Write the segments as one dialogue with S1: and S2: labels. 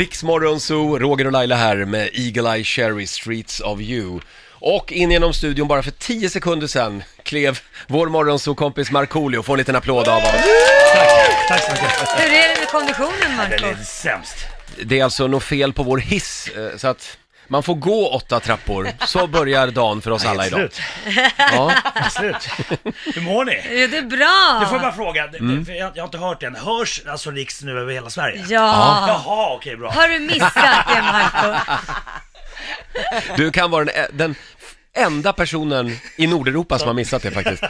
S1: Riksmorgon Zoo, Roger och Laila här med Eagle-Eye Cherry Streets of You. Och in genom studion bara för 10 sekunder sedan klev vår morgonzoo-kompis Markoolio. Få en liten applåd av oss.
S2: Tack, tack så mycket.
S3: Hur är det med konditionen
S2: Den
S3: Marco?
S2: är sämst.
S1: Det är alltså något fel på vår hiss, eh, så att man får gå åtta trappor. Så börjar dagen för oss alla idag.
S2: Slut.
S1: Ja.
S2: Slut. Hur mår ni?
S3: Ja, det är bra!
S2: Du får jag bara fråga, det-
S1: Mm.
S2: för jag, jag har inte hört det än. Hörs alltså Riks nu över hela Sverige?
S3: Ja.
S2: Jaha, okej bra.
S3: Har du missat det Marco?
S1: Du kan vara den, e- den f- enda personen i Nordeuropa som har missat det faktiskt.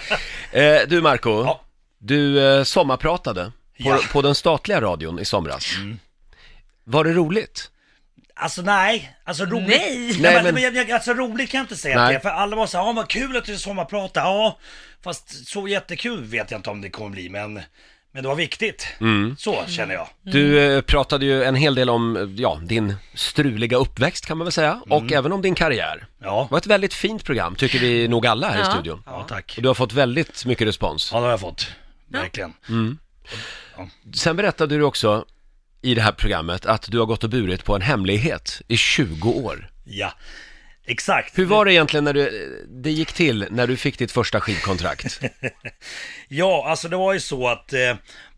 S1: Eh, Du Marco,
S2: Ja.
S1: du eh, sommarpratade på,
S2: Ja. Mm.
S1: på den statliga radion i somras. Var det roligt?
S2: Alltså nej, alltså roligt.
S3: Nej.
S2: Ja,
S1: Nej,
S2: men,
S1: men-
S2: men... jag- jag- alltså roligt kan jag inte säga
S1: Nej.
S2: att det är, för alla var så här, ja vad kul att du sommarpratar, ja. Fast så jättekul vet jag inte om det kommer bli, men, men det var viktigt.
S1: Mm.
S2: Så känner jag.
S1: Du eh, pratade ju en hel del om, eh, ja, din struliga uppväxt kan man väl säga, och även om din karriär.
S2: Mm. Ja.
S1: Det var ett väldigt fint program, tycker vi nog alla här i
S3: Ja.
S1: studion.
S2: Ja, tack.
S1: Och du har fått väldigt mycket respons.
S2: Ja, det har jag fått. Verkligen.
S1: Sen berättade du också i det här programmet att du har gått och burit på en hemlighet i 20 år.
S2: Ja, exakt.
S1: Hur var det egentligen när du, eh, det gick till när du fick ditt första skivkontrakt?
S2: Ja, alltså det var ju så att eh,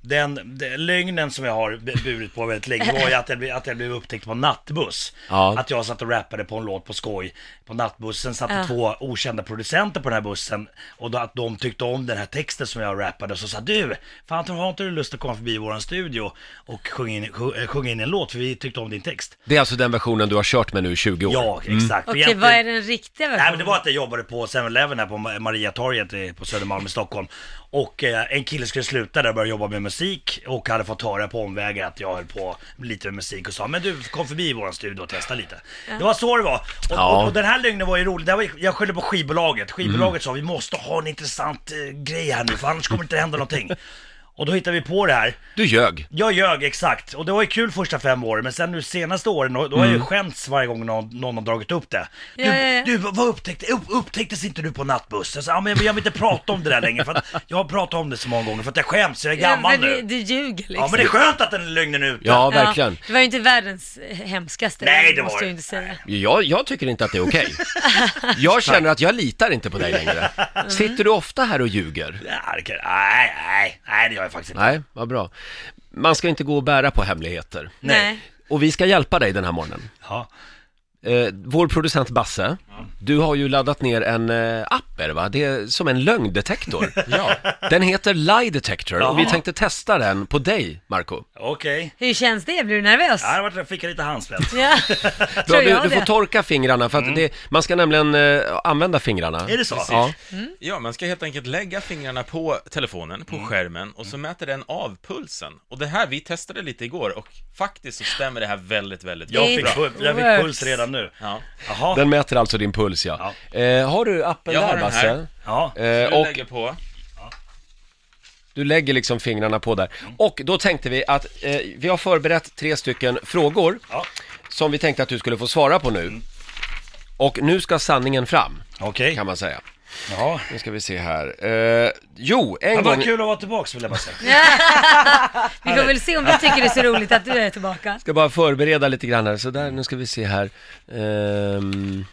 S2: den, den lögnen som jag har b- burit på väldigt länge var ju att jag, blev- att jag blev upptäckt på en nattbuss.
S1: Ja.
S2: Att jag satt och rappade på en låt på skoj på nattbussen, satt det två okända producenter på den här bussen och då, att de tyckte om den här texten som jag rappade och så sa du, fan har inte du lust att komma förbi våran studio och sjunga in, sj- eh, sjunga in en låt för vi tyckte om din text.
S1: Det är alltså den versionen du har kört med nu i 20 år?
S2: Ja, exakt. Och
S3: Okej,
S2: egentligen-
S3: vad är den riktiga
S2: Nej men
S3: versionen?
S2: det var att jag jobbade på 7-Eleven här på Ma- Mariatorget i- på Södermalm i Stockholm. Och eh, en kille skulle sluta där och börja jobba med musik och hade fått höra på omvägar att jag höll på lite med musik och sa men du kom förbi våran studio och testa lite. Det var så det var. Och,
S1: Ja.
S2: och, och den här lögnen var ju rolig. Det här var, ju- jag skyllde på skivbolaget. Skivbolaget sa vi måste ha en intressant eh, grej här nu för annars kommer det inte hända någonting. Och då hittade vi på det här.
S1: Du ljög.
S2: Jag ljög, exakt. Och det var ju kul första fem åren, men sen nu senaste åren, då då har jag ju skämts varje gång någon, någon har dragit upp det. Du,
S3: Ja, ja, ja.
S2: du vad upptäckte, upp, upptäcktes inte du på nattbussen? Så, Ja, men jag, jag vill inte prata om det där längre, för att jag har pratat om det så många gånger, för att jag skäms, jag är gammal
S3: ja, men
S2: nu.
S3: Du, du ljuger liksom.
S2: Ja, men det är skönt att den lögnen är ute.
S1: Ja, verkligen.
S3: det var ju inte världens eh, hemskaste.
S2: Nej, det
S3: måste
S2: var
S3: jag
S2: det.
S3: ju inte säga.
S1: Jag, jag tycker inte att det är okej. Jag känner att jag litar inte på dig längre. Sitter du ofta här och ljuger?
S2: Ja, det kan, nej, nej, nej, det gör jag faktiskt inte.
S1: Nej, vad bra. Man ska inte gå och bära på hemligheter.
S2: Nej.
S3: Nej.
S1: Och vi ska hjälpa dig den här morgonen.
S2: Ja.
S1: Eh, vår producent Basse, du har ju laddat ner en eh, app är det va? Det är som en lögndetektor. ja. Den heter Lie Detector och vi
S2: Jaha.
S1: tänkte testa den på dig, Marco.
S2: Okej.
S3: Hur känns det? Blir du nervös?
S2: Ja, det var- jag fick lite handsvett.
S3: Ja,
S1: Bra,
S3: tror
S1: du,
S3: jag
S1: du
S3: det.
S1: får torka fingrarna för att det, man ska nämligen eh, använda fingrarna.
S2: Är det så?
S1: Ja.
S4: Ja, man ska helt enkelt lägga fingrarna på telefonen, på skärmen, och så mäter den av pulsen. Och det här, vi testade lite igår, och faktiskt så stämmer det här väldigt, väldigt
S2: Jag
S4: bra.
S2: fick, pu- jag fick
S3: Works.
S2: puls redan nu.
S4: Ja.
S2: Jaha.
S1: Den mäter alltså din puls ja. Eh, har du appen
S4: Jag har
S1: där
S4: den
S1: Basse?
S4: här.
S2: Ja.
S1: Eh,
S4: Du
S1: och
S4: lägger på.
S1: du lägger liksom fingrarna på där.
S4: Mm.
S1: Och då tänkte vi att eh, vi har förberett tre stycken frågor
S2: ja.
S1: som vi tänkte att du skulle få svara på
S4: Mm.
S1: nu. Och nu ska sanningen fram,
S2: Okej.
S1: kan man säga.
S2: Jaha.
S1: Nu ska vi se här. Eh, jo, en
S2: Ja,
S1: gång...
S2: vad kul att vara tillbaka vill jag bara säga.
S3: Vi får väl se om du tycker det är så roligt att du är tillbaka.
S1: ska bara förbereda lite grann här. Så där, nu ska vi se här. Ehm,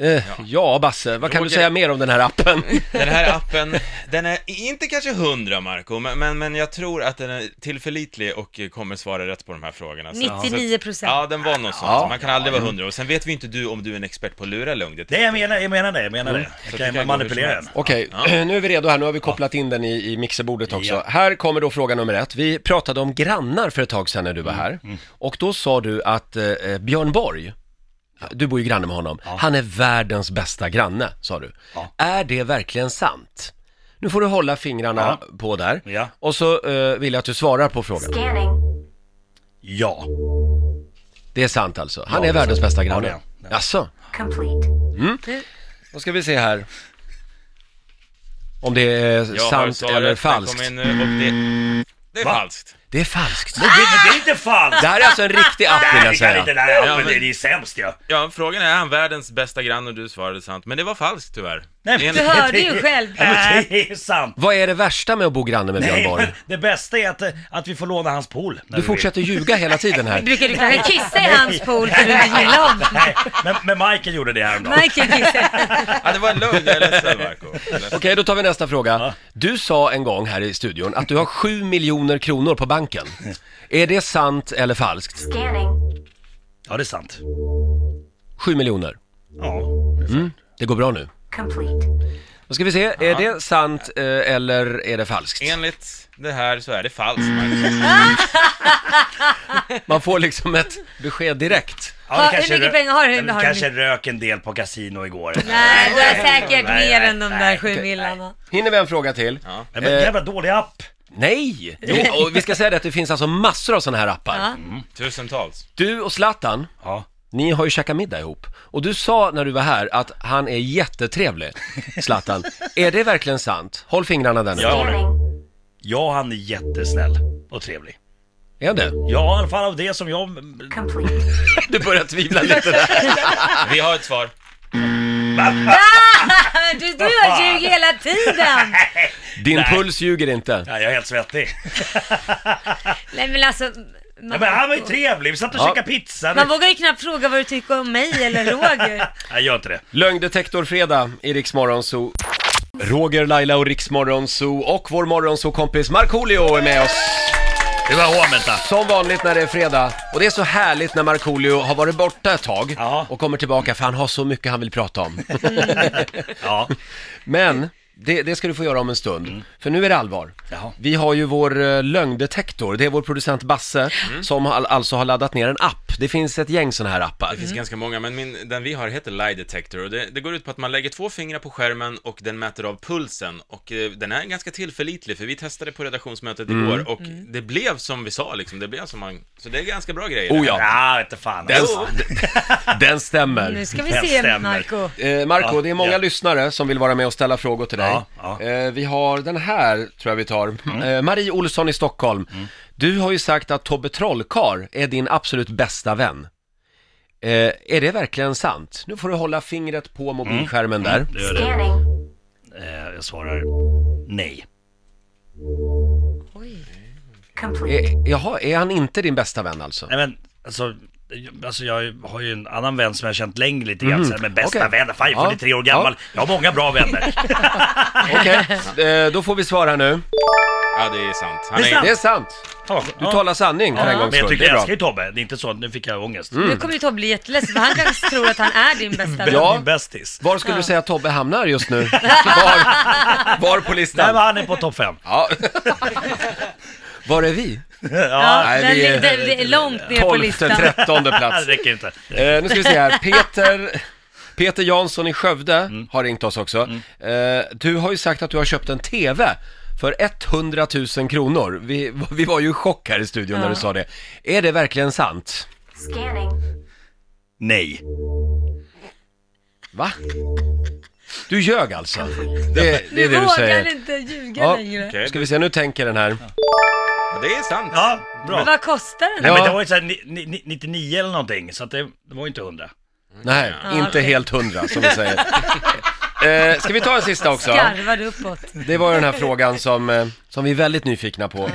S1: eh, ja. Basse, vad kan du
S4: Roger.
S1: säga mer om den här appen?
S4: Den här appen, den är inte kanske hundra, Marco, men, men, men jag tror att den är tillförlitlig och eh, kommer svara rätt på de här frågorna. Så-
S3: 99%.
S4: Ja, den var något sånt.
S1: Ja.
S4: Man kan aldrig vara hundra. Och sen vet vi inte du om du är en expert på att lura lögn. Det-
S2: Nej jag menar, jag menar det, jag menar det.
S4: Så
S2: Jag
S4: det
S2: kan,
S4: kan gå
S2: manipulera
S4: hur
S2: den.
S4: som helst.
S1: Okej, nu är vi redo här. Nu har vi kopplat in den i, i mixerbordet också.
S2: Ja.
S1: Här kommer då fråga nummer ett. Vi pratade om grannar för ett tag sedan när du var
S2: Mm,
S1: här. Och då sa du att eh, eh, Björn Borg, du bor ju granne med honom, han är världens bästa granne, sa du.
S2: Ja.
S1: Är det verkligen sant? Nu får du hålla fingrarna på där.
S2: Ja.
S1: Och så eh, vill jag att du svarar på frågan.
S5: Scanning.
S2: Ja.
S1: Det är sant alltså. Han
S2: Ja,
S1: är
S2: det är
S1: världens
S2: sant.
S1: bästa
S2: Ja,
S1: granne.
S2: det är
S1: Ja,
S2: han.
S1: Jaså?
S5: Complete.
S1: Då ska vi se här. Om det är
S4: Jag har
S1: sant
S4: svaret,
S1: eller
S4: den
S1: falskt.
S4: kommer in nu, och det... Det är
S2: Va?
S4: falskt.
S1: Det är falskt.
S2: Det, det är inte falskt!
S1: Det här är alltså en riktig app vill
S2: Nej,
S1: jag
S2: det kan inte.
S1: säga.
S2: Nej,
S4: Ja,
S2: ja, men
S4: men-
S2: det det är sämst ja.
S4: Ja, frågan är, är han världens bästa granne? Och du svarade sant, men det var falskt tyvärr.
S2: Nej, men-
S4: Enligt-
S3: Du hörde ju själv.
S2: Nej, men det är sant.
S1: Vad är det värsta med att bo granne med Björn
S2: Nej,
S1: Borg?
S2: men det bästa är att, eh, att vi får låna hans pool. när
S1: Du
S2: vi
S1: fortsätter ljuga hela tiden här.
S3: Brukar du kanske kissa i hans pool för
S2: vill.
S3: du gillar honom?
S2: Nej, men, men Michael gjorde det häromdagen.
S3: Michael kissar.
S4: Ja, det var en lögn, jag är ledsen Marco.
S1: Okej, då tar vi nästa fråga. Du sa en gång här i studion att du har 7 miljoner kronor på banken. Är det sant eller falskt?
S5: Scanning.
S2: Ja, det är sant.
S1: 7 miljoner.
S2: Ja.
S1: Det går bra nu.
S5: Complete.
S1: Då ska vi se, är det sant eh, eller är det falskt?
S4: Enligt det här så är det falskt Marco.
S1: Man får liksom ett besked direkt.
S2: Ja,
S3: Ha,
S2: det
S3: hur
S2: kanske
S3: mycket
S2: rö-
S3: pengar har du?
S2: Nej, men
S3: Har
S2: du
S3: du
S2: kanske rök en del på kasino igår.
S3: Nej, du har säkert
S2: Nej,
S3: mer
S2: nej,
S3: än de
S2: nej,
S3: där
S2: okej,
S3: sju millarna.
S1: Hinner vi en fråga till?
S4: Ja.
S2: Nej, men jävla dålig app.
S1: Nej! Jo, och vi ska säga det att det finns alltså massor av sådana här appar.
S3: Ja.
S4: Tusentals.
S1: Du och Zlatan,
S2: Ja.
S1: ni har ju käkat middag ihop. Och du sa när du var här att han är jättetrevlig, Zlatan. är det verkligen sant? Håll fingrarna där nu.
S2: Ja.
S5: Scanning.
S2: ja, han är jättesnäll och trevlig.
S1: Är det?
S2: Ja, i alla fall av det som jag...
S5: Complete.
S1: Du börjar tvivla lite där.
S4: Vi har ett svar.
S3: Du du har ljugit hela tiden!
S1: Din puls ljuger inte.
S2: Nej, jag är helt svettig.
S3: Nej men alltså...
S2: Nej,
S3: Man,
S2: men han var ju trevlig. Vi satt och
S1: Ja.
S2: käkade pizza.
S3: man vågar ju knappt fråga vad du tycker om mig eller Roger.
S2: Nej, gör inte det.
S1: Lögndetektor-fredag i Rix Morgon Zoo. Roger, Laila och Rix Morgon Zoo och vår morgonzoo-kompis Markoolio är med oss.
S2: Det var hårmänta.
S1: Som vanligt när det är fredag. Och det är så härligt när Markoolio har varit borta ett tag
S2: Ja.
S1: och kommer tillbaka för han har så mycket han vill prata om.
S2: Ja.
S1: Men det, det ska du få göra om en stund, för nu är det allvar.
S2: Mm. Jaha.
S1: Vi har ju vår eh, lögndetektor, det är vår producent Basse
S2: Mm.
S1: som al- alltså har laddat ner en app. Det finns ett gäng sådana här appar.
S4: Det finns ganska många, men min, den vi har heter Lie Detector och det, det går ut på att man lägger två fingrar på skärmen och den mäter av pulsen och eh, den är ganska tillförlitlig för vi testade på redaktionsmötet
S1: Mm.
S4: igår och det blev som vi sa liksom, det blev som man, så det är ganska bra grejer.
S1: Oh ja,
S2: Ja, vet inte fan.
S1: den,
S2: alltså.
S1: den stämmer.
S3: Nu ska vi
S2: Det
S3: se
S2: stämmer.
S3: Marco.
S1: Eh, Marco,
S2: Ja,
S1: det är många
S2: ja.
S1: lyssnare som vill vara med och ställa frågor till dig.
S2: Ja, ja. Mm.
S1: Eh, vi har den här, tror jag vi tar. Eh, Marie Olsson i Stockholm. Du har ju sagt att Tobbe Trollkarl är din absolut bästa vän. Eh, är det verkligen sant? Nu får du hålla fingret på mobilskärmen där.
S2: Det gör det.
S5: Scanning.
S2: Eh, Jag svarar nej.
S5: Complete.
S1: Eh, jaha, är han inte din bästa vän alltså?
S2: Nej men, alltså, alltså jag har ju en annan vän som jag har känt längre lite grann, så här, men bästa
S1: Mhm. Okej.
S2: vän, fan jag
S1: Ja.
S2: är 43 år gammal, jag har många bra vänner.
S1: Okej, eh, då får vi svara nu.
S4: Ja, det är sant. Han
S2: Det är
S4: är,
S2: sant.
S1: Det är sant.
S2: Ja,
S1: Du talar sanning för en gångs
S2: Men jag
S1: skull.
S2: tycker
S1: Det är
S2: jag
S1: bra. Mm.
S2: älskar ju Tobbe, det är inte så, nu fick jag ångest.
S3: Nu kommer ju Tobbe bli jätteledsen för han kanske tror att han är din bästa vän.
S1: Ja.
S2: Min bästis.
S1: Var skulle du säga att Tobbe hamnar just nu? Var, var på
S2: Nej men
S1: listan?
S2: han är på topp 5.
S1: Ja. Var är vi?
S3: Ja,
S1: Nej,
S3: den,
S1: vi är-
S3: det, det, är långt ner på
S1: 12
S3: listan.
S1: 13
S2: Nej,
S1: plats.
S2: det räcker inte.
S1: Eh, nu ska vi se här, Peter, Peter Jansson i Skövde
S2: Mm.
S1: har ringt oss också. Eh, du har ju sagt att du har köpt en TV för 100 000 kronor. Vi, vi var ju i chock här i studion när du sa det. Är det verkligen sant?
S5: Scanning.
S2: Nej.
S1: Va? Du ljög alltså? Det, det är
S3: Nu
S1: det du
S3: vågar
S1: säger.
S3: inte ljuga
S1: Ja.
S3: längre.
S4: Okej,
S1: Ska vi se, nu tänker den här.
S4: det är sant.
S2: Ja, bra.
S3: Vad kostar den?
S1: Ja.
S2: Nej, men det var ju såhär ni- ni- ni- 99 eller någonting, så att det, det var ju inte 100.
S1: Nej,
S3: Ja,
S1: inte
S3: okej.
S1: helt hundra som vi säger. Eh, ska vi ta en sista också?
S3: Skarvar du uppåt?
S1: Det var ju den här frågan som, eh, som vi är väldigt nyfikna på.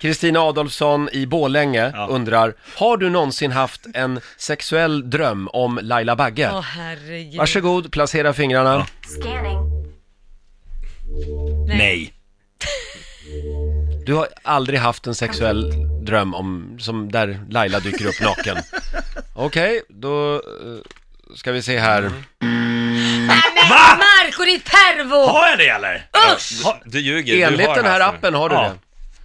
S1: Kristina Adolfsson i Borlänge
S2: Ja.
S1: undrar, har du någonsin haft en sexuell dröm om Laila Bagge?
S3: Åh herregud.
S1: Varsågod, placera fingrarna.
S5: Scanning.
S2: Nej.
S1: Du har aldrig haft en sexuell dröm om, som där Laila dyker upp naken. Okej, då eh, ska vi se här.
S2: Va?
S3: Marco ditt pervo!
S2: Har jag det eller?
S3: Usch!
S2: Ha-
S4: Du ljuger, du
S1: Enligt
S4: har alltså.
S1: den här
S4: haft
S1: appen har du
S2: Ja.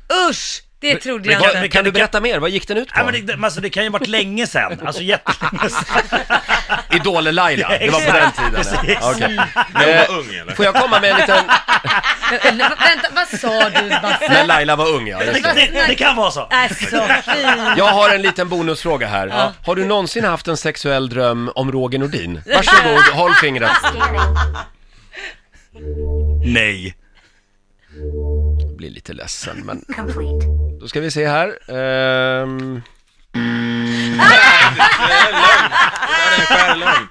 S1: det.
S3: Usch! Det trodde
S2: men
S3: jag
S2: vad-
S3: inte.
S1: Men kan du berätta mer? Vad gick den ut
S2: Nej,
S1: på?
S2: men det, men alltså, det kan ju ha varit länge sen, alltså jättelänge sen.
S1: Idol-Laila, det var på den
S2: Exakt,
S1: tiden.
S2: precis.
S1: ja. Okej.
S4: När hon
S1: Eh,
S4: var ung eller?
S1: Får jag komma med en liten,
S3: Eh, nej, Vänta, vad sa du Basse?
S1: när Laila var ung ja, just det.
S2: Det, det kan vara så.
S3: Alltså fy.
S1: Jag har en liten bonusfråga här.
S3: Ja.
S1: Har du någonsin haft en sexuell dröm om Roger Nordin? Varsågod, håll fingret.
S5: Scanning.
S2: Nej.
S1: Jag blir lite ledsen, men
S5: Complete.
S1: Då ska vi se här. Ehm,
S4: Där är en skärlögn.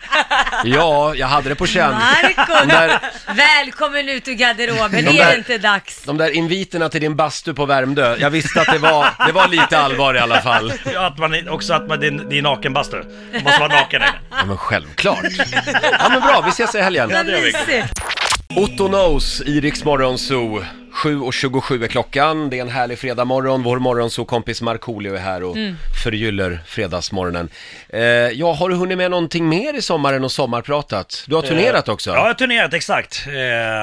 S1: ja, jag hade det på känn.
S3: Marco,
S1: De där,
S3: välkommen ut ur garderoben,
S1: De
S3: det är
S1: där-
S3: inte dags.
S1: de där inviterna till din bastu på Värmdö, jag visste att det var, det var lite allvar i alla fall.
S2: Ja, att man, också att man, det är det är nakenbastu. Man måste vara naken där.
S1: Ja, men självklart. Ja, men bra, vi ses i helgen.
S3: Vad
S2: det gör vi.
S3: mysigt.
S1: Otto Knows i Rix Morgon Zoo. 7.27 är klockan, det är en härlig fredagmorgon. Vår morgonzoo-kompis Markoolio är här och förgyller fredagsmorgonen. Eh, ja, har du hunnit med någonting mer i sommaren och sommarpratat? Du har turnerat också.
S2: Eh, Ja, jag har turnerat, exakt.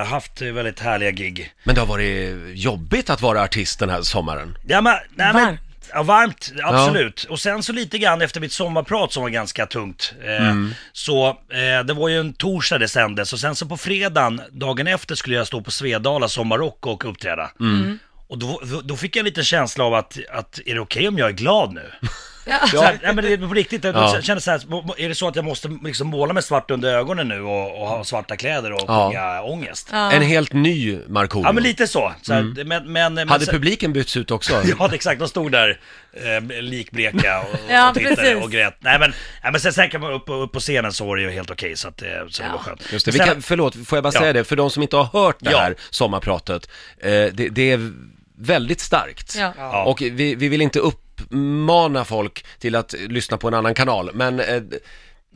S2: Eh, haft eh, väldigt härliga gig.
S1: Men det har varit jobbigt att vara artist den här sommaren.
S2: Ja, men, nej, men,
S3: Varmt.
S2: ja, varmt, absolut. Och sen så lite grann efter mitt sommarprat som var ganska tungt. Eh,
S1: Mm.
S2: Så eh, det var ju en torsdag det sändes och sen så på fredagen, dagen efter skulle jag stå på Svedala sommarrock och uppträda.
S1: Mm.
S2: Och då, då fick jag en liten känsla av att, att är det okej om jag är glad nu? Så här, nej men det är på riktigt, jag
S1: Ja.
S2: känner så här, är det så att jag måste liksom måla mig svart under ögonen nu och, och ha svarta kläder och
S1: Ja.
S2: sjunga ångest? Ja.
S1: En helt ny Markoolio.
S2: men lite så. så här, men, men, men,
S1: Mm. Hade
S2: så-
S1: publiken bytts ut också?
S2: Ja, det är exakt. De stod där eh, likbleka och,
S3: Ja,
S2: och tittade
S3: precis.
S2: och grät. Nej men, nej, men sen, sen kan man upp, upp på scenen så var det ju helt okej så att eh, så det var skönt.
S1: Just det, vi
S2: Men sen-
S1: kan, förlåt, får jag bara
S2: Ja.
S1: säga det, för de som inte har hört det
S2: Ja.
S1: här sommarpratet, eh, det, det är väldigt starkt.
S3: Ja.
S2: Ja.
S1: Och vi, vi vill inte uppmana folk till att eh, lyssna på en annan kanal, men eh,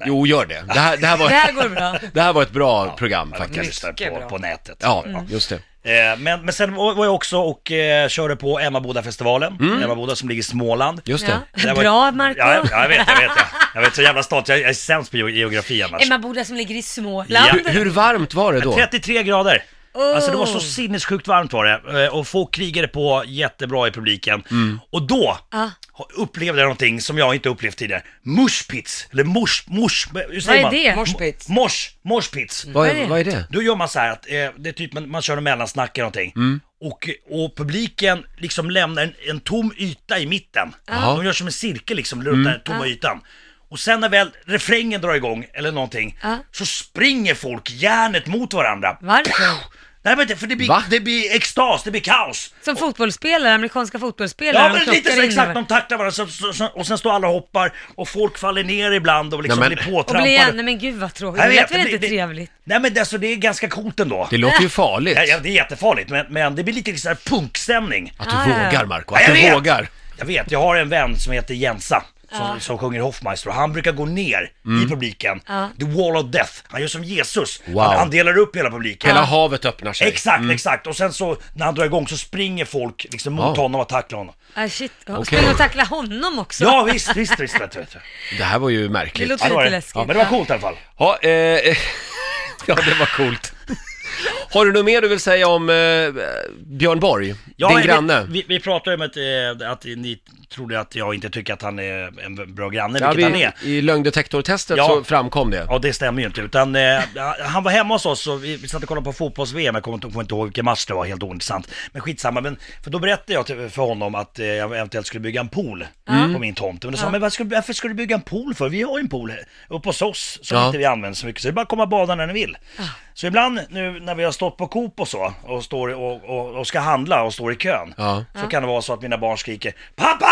S1: jo, gör det. Det här, det här, var,
S3: Det här går bra.
S1: det här var ett bra program
S2: man kan
S1: faktiskt.
S2: lyssna
S6: Mycket
S2: på,
S6: bra.
S2: på nätet.
S1: Ja, just det.
S2: Eh, men, men sen var var jag också och eh, körde på Emmabodafestivalen, Emmaboda som ligger i Småland.
S1: Mm. Just det.
S3: Ja.
S2: Det var-
S3: Bra Marco.
S2: Ja, jag, jag vet, jag vet. Jag, jag vet så jävla stolt. Jag, jag är sämst på ge- geografi annars.
S3: Emma Boda som ligger i Småland.
S1: Hur, hur varmt var det då?
S2: 33 grader.
S3: Oh.
S2: Alltså det var så sinnessjukt varmt var det. Eh, Och folk krigade på jättebra i publiken. Och då
S3: Ah.
S2: upplevde jag någonting som jag inte upplevt tidigare. Mushpits, eller mors, mors, hur säger
S3: Vad är det?
S2: man?
S6: Moshpits.
S2: Mors, morspits.
S1: Vad,
S3: Vad är det?
S1: vad är det?
S2: Då gör man så här att eh, det är typ man, man kör en mellansnack eller någonting.
S3: Mm.
S2: Och, och publiken liksom lämnar en, en tom yta i mitten.
S3: Ah.
S1: Jaha.
S2: De gör som en cirkel liksom runt
S3: Mm.
S2: den tomma ytan. Och sen när väl refrängen drar igång eller någonting
S3: Ja.
S2: så springer folk järnet mot varandra.
S3: Varför?
S2: Nej men det, för det blir,
S1: Va?
S2: det blir extas, det blir kaos.
S3: Som fotbollsspelare, amerikanska fotbollsspelare.
S2: Ja
S3: de
S2: men lite
S3: krockar
S2: så
S3: in
S2: exakt,
S3: i-
S2: de tacklar varandra så, så, så, och sen står alla och hoppar och folk faller ner ibland och liksom
S1: Nej, men-
S2: blir
S3: Och blir
S2: påtrampade.
S3: igen, nej men gud vad tråkigt.
S2: Jag
S3: Det lät väl
S2: det-
S3: inte
S2: det-
S3: trevligt?
S2: Nej men alltså det är ganska coolt ändå.
S1: Det låter ju farligt.
S2: Ja, ja, det är jättefarligt men, men det blir lite så här punkstämning.
S1: Att
S3: Ah,
S1: du
S3: ja.
S1: vågar, Marco.
S2: Ja,
S1: Att
S2: jag
S1: du
S2: vet.
S1: vågar.
S2: Jag vet, jag har en vän som heter Jensa. Som, som sjunger Hoffmeister och han brukar gå ner i publiken. The wall of death. Han gör som Jesus.
S1: Mm. Wow.
S2: Han, han delar upp hela publiken.
S1: Hela Mm. havet öppnar sig.
S2: Exakt, exakt. Och sen så när han drar igång så springer folk liksom mot
S1: Ja.
S2: honom och tacklar honom.
S3: Ah, shit, okay.
S1: Okej.
S3: Skulle de tackla honom också?
S2: Ja visst, visst, visst. Vet, vet.
S1: Det här var ju
S3: Det
S1: märkligt.
S3: låter
S2: Ja, det var
S3: lite
S2: det.
S3: läskigt.
S2: Ja, men det var coolt i alla fall.
S1: Ja, eh, eh, ja, det var coolt. Har du något mer du vill säga om eh, Björn Borg,
S2: Ja,
S1: din
S2: vi-
S1: granne?
S2: Vi, vi pratade om att, eh, att ni trodde att jag inte tycker att han är en bra granne,
S1: ja,
S2: vilket han
S1: vi,
S2: är.
S1: I lögndetektortestet
S2: Ja.
S1: så framkom det.
S2: Ja, det stämmer ju inte. Utan, eh, han var hemma hos oss och vi, vi satt och kollade på fotbolls-VM. Jag kommer inte, kommer inte ihåg vilken match det var, helt ointressant. Men skitsamma. Men, för då berättade jag till, för honom att eh, jag eventuellt skulle bygga en pool på min tomt. Men då sa han, men varför ska, varför ska du bygga en pool för? Vi har ju en pool här uppe hos oss som
S1: Ja.
S2: inte vi använder så mycket. Så det är bara att komma och bada när ni vill. Så ibland nu när vi har stått på Coop och så och, står, och, och, och ska handla och står i kön.
S1: Ja.
S2: Så kan det vara så att mina barn skriker Pappa!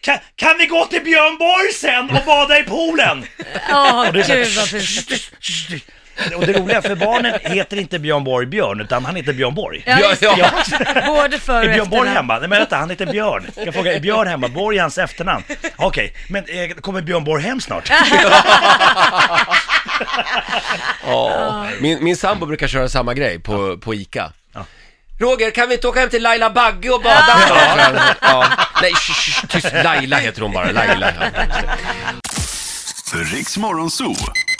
S2: Kan, kan vi gå till Björn Borg sen och bada i poolen?
S3: Ja,
S2: Och det, är
S3: gud
S2: så
S3: vad
S2: här,
S3: fint.
S2: och det roliga för barnen heter inte Björn Borg Björn utan han heter Björn Borg.
S3: Ja, just det.
S1: Ja,
S3: Både för
S2: Är
S3: och
S2: Björn Borg
S3: efternamn.
S2: hemma? Nej men vänta, han heter Björn. Jag frågar, är Björn hemma? Borg är hans efternamn. Okej, men eh, kommer Björn Borg hem snart?
S1: Ja. Min, min sambo brukar köra samma grej på, på ICA. Roger, kan vi inte åka hem till Laila Bagge och bada? Ja. Ja. Nej, sh, sh, sh, tyst. Laila heter hon bara. Laila. Ja.
S7: Riks Morgonzoo.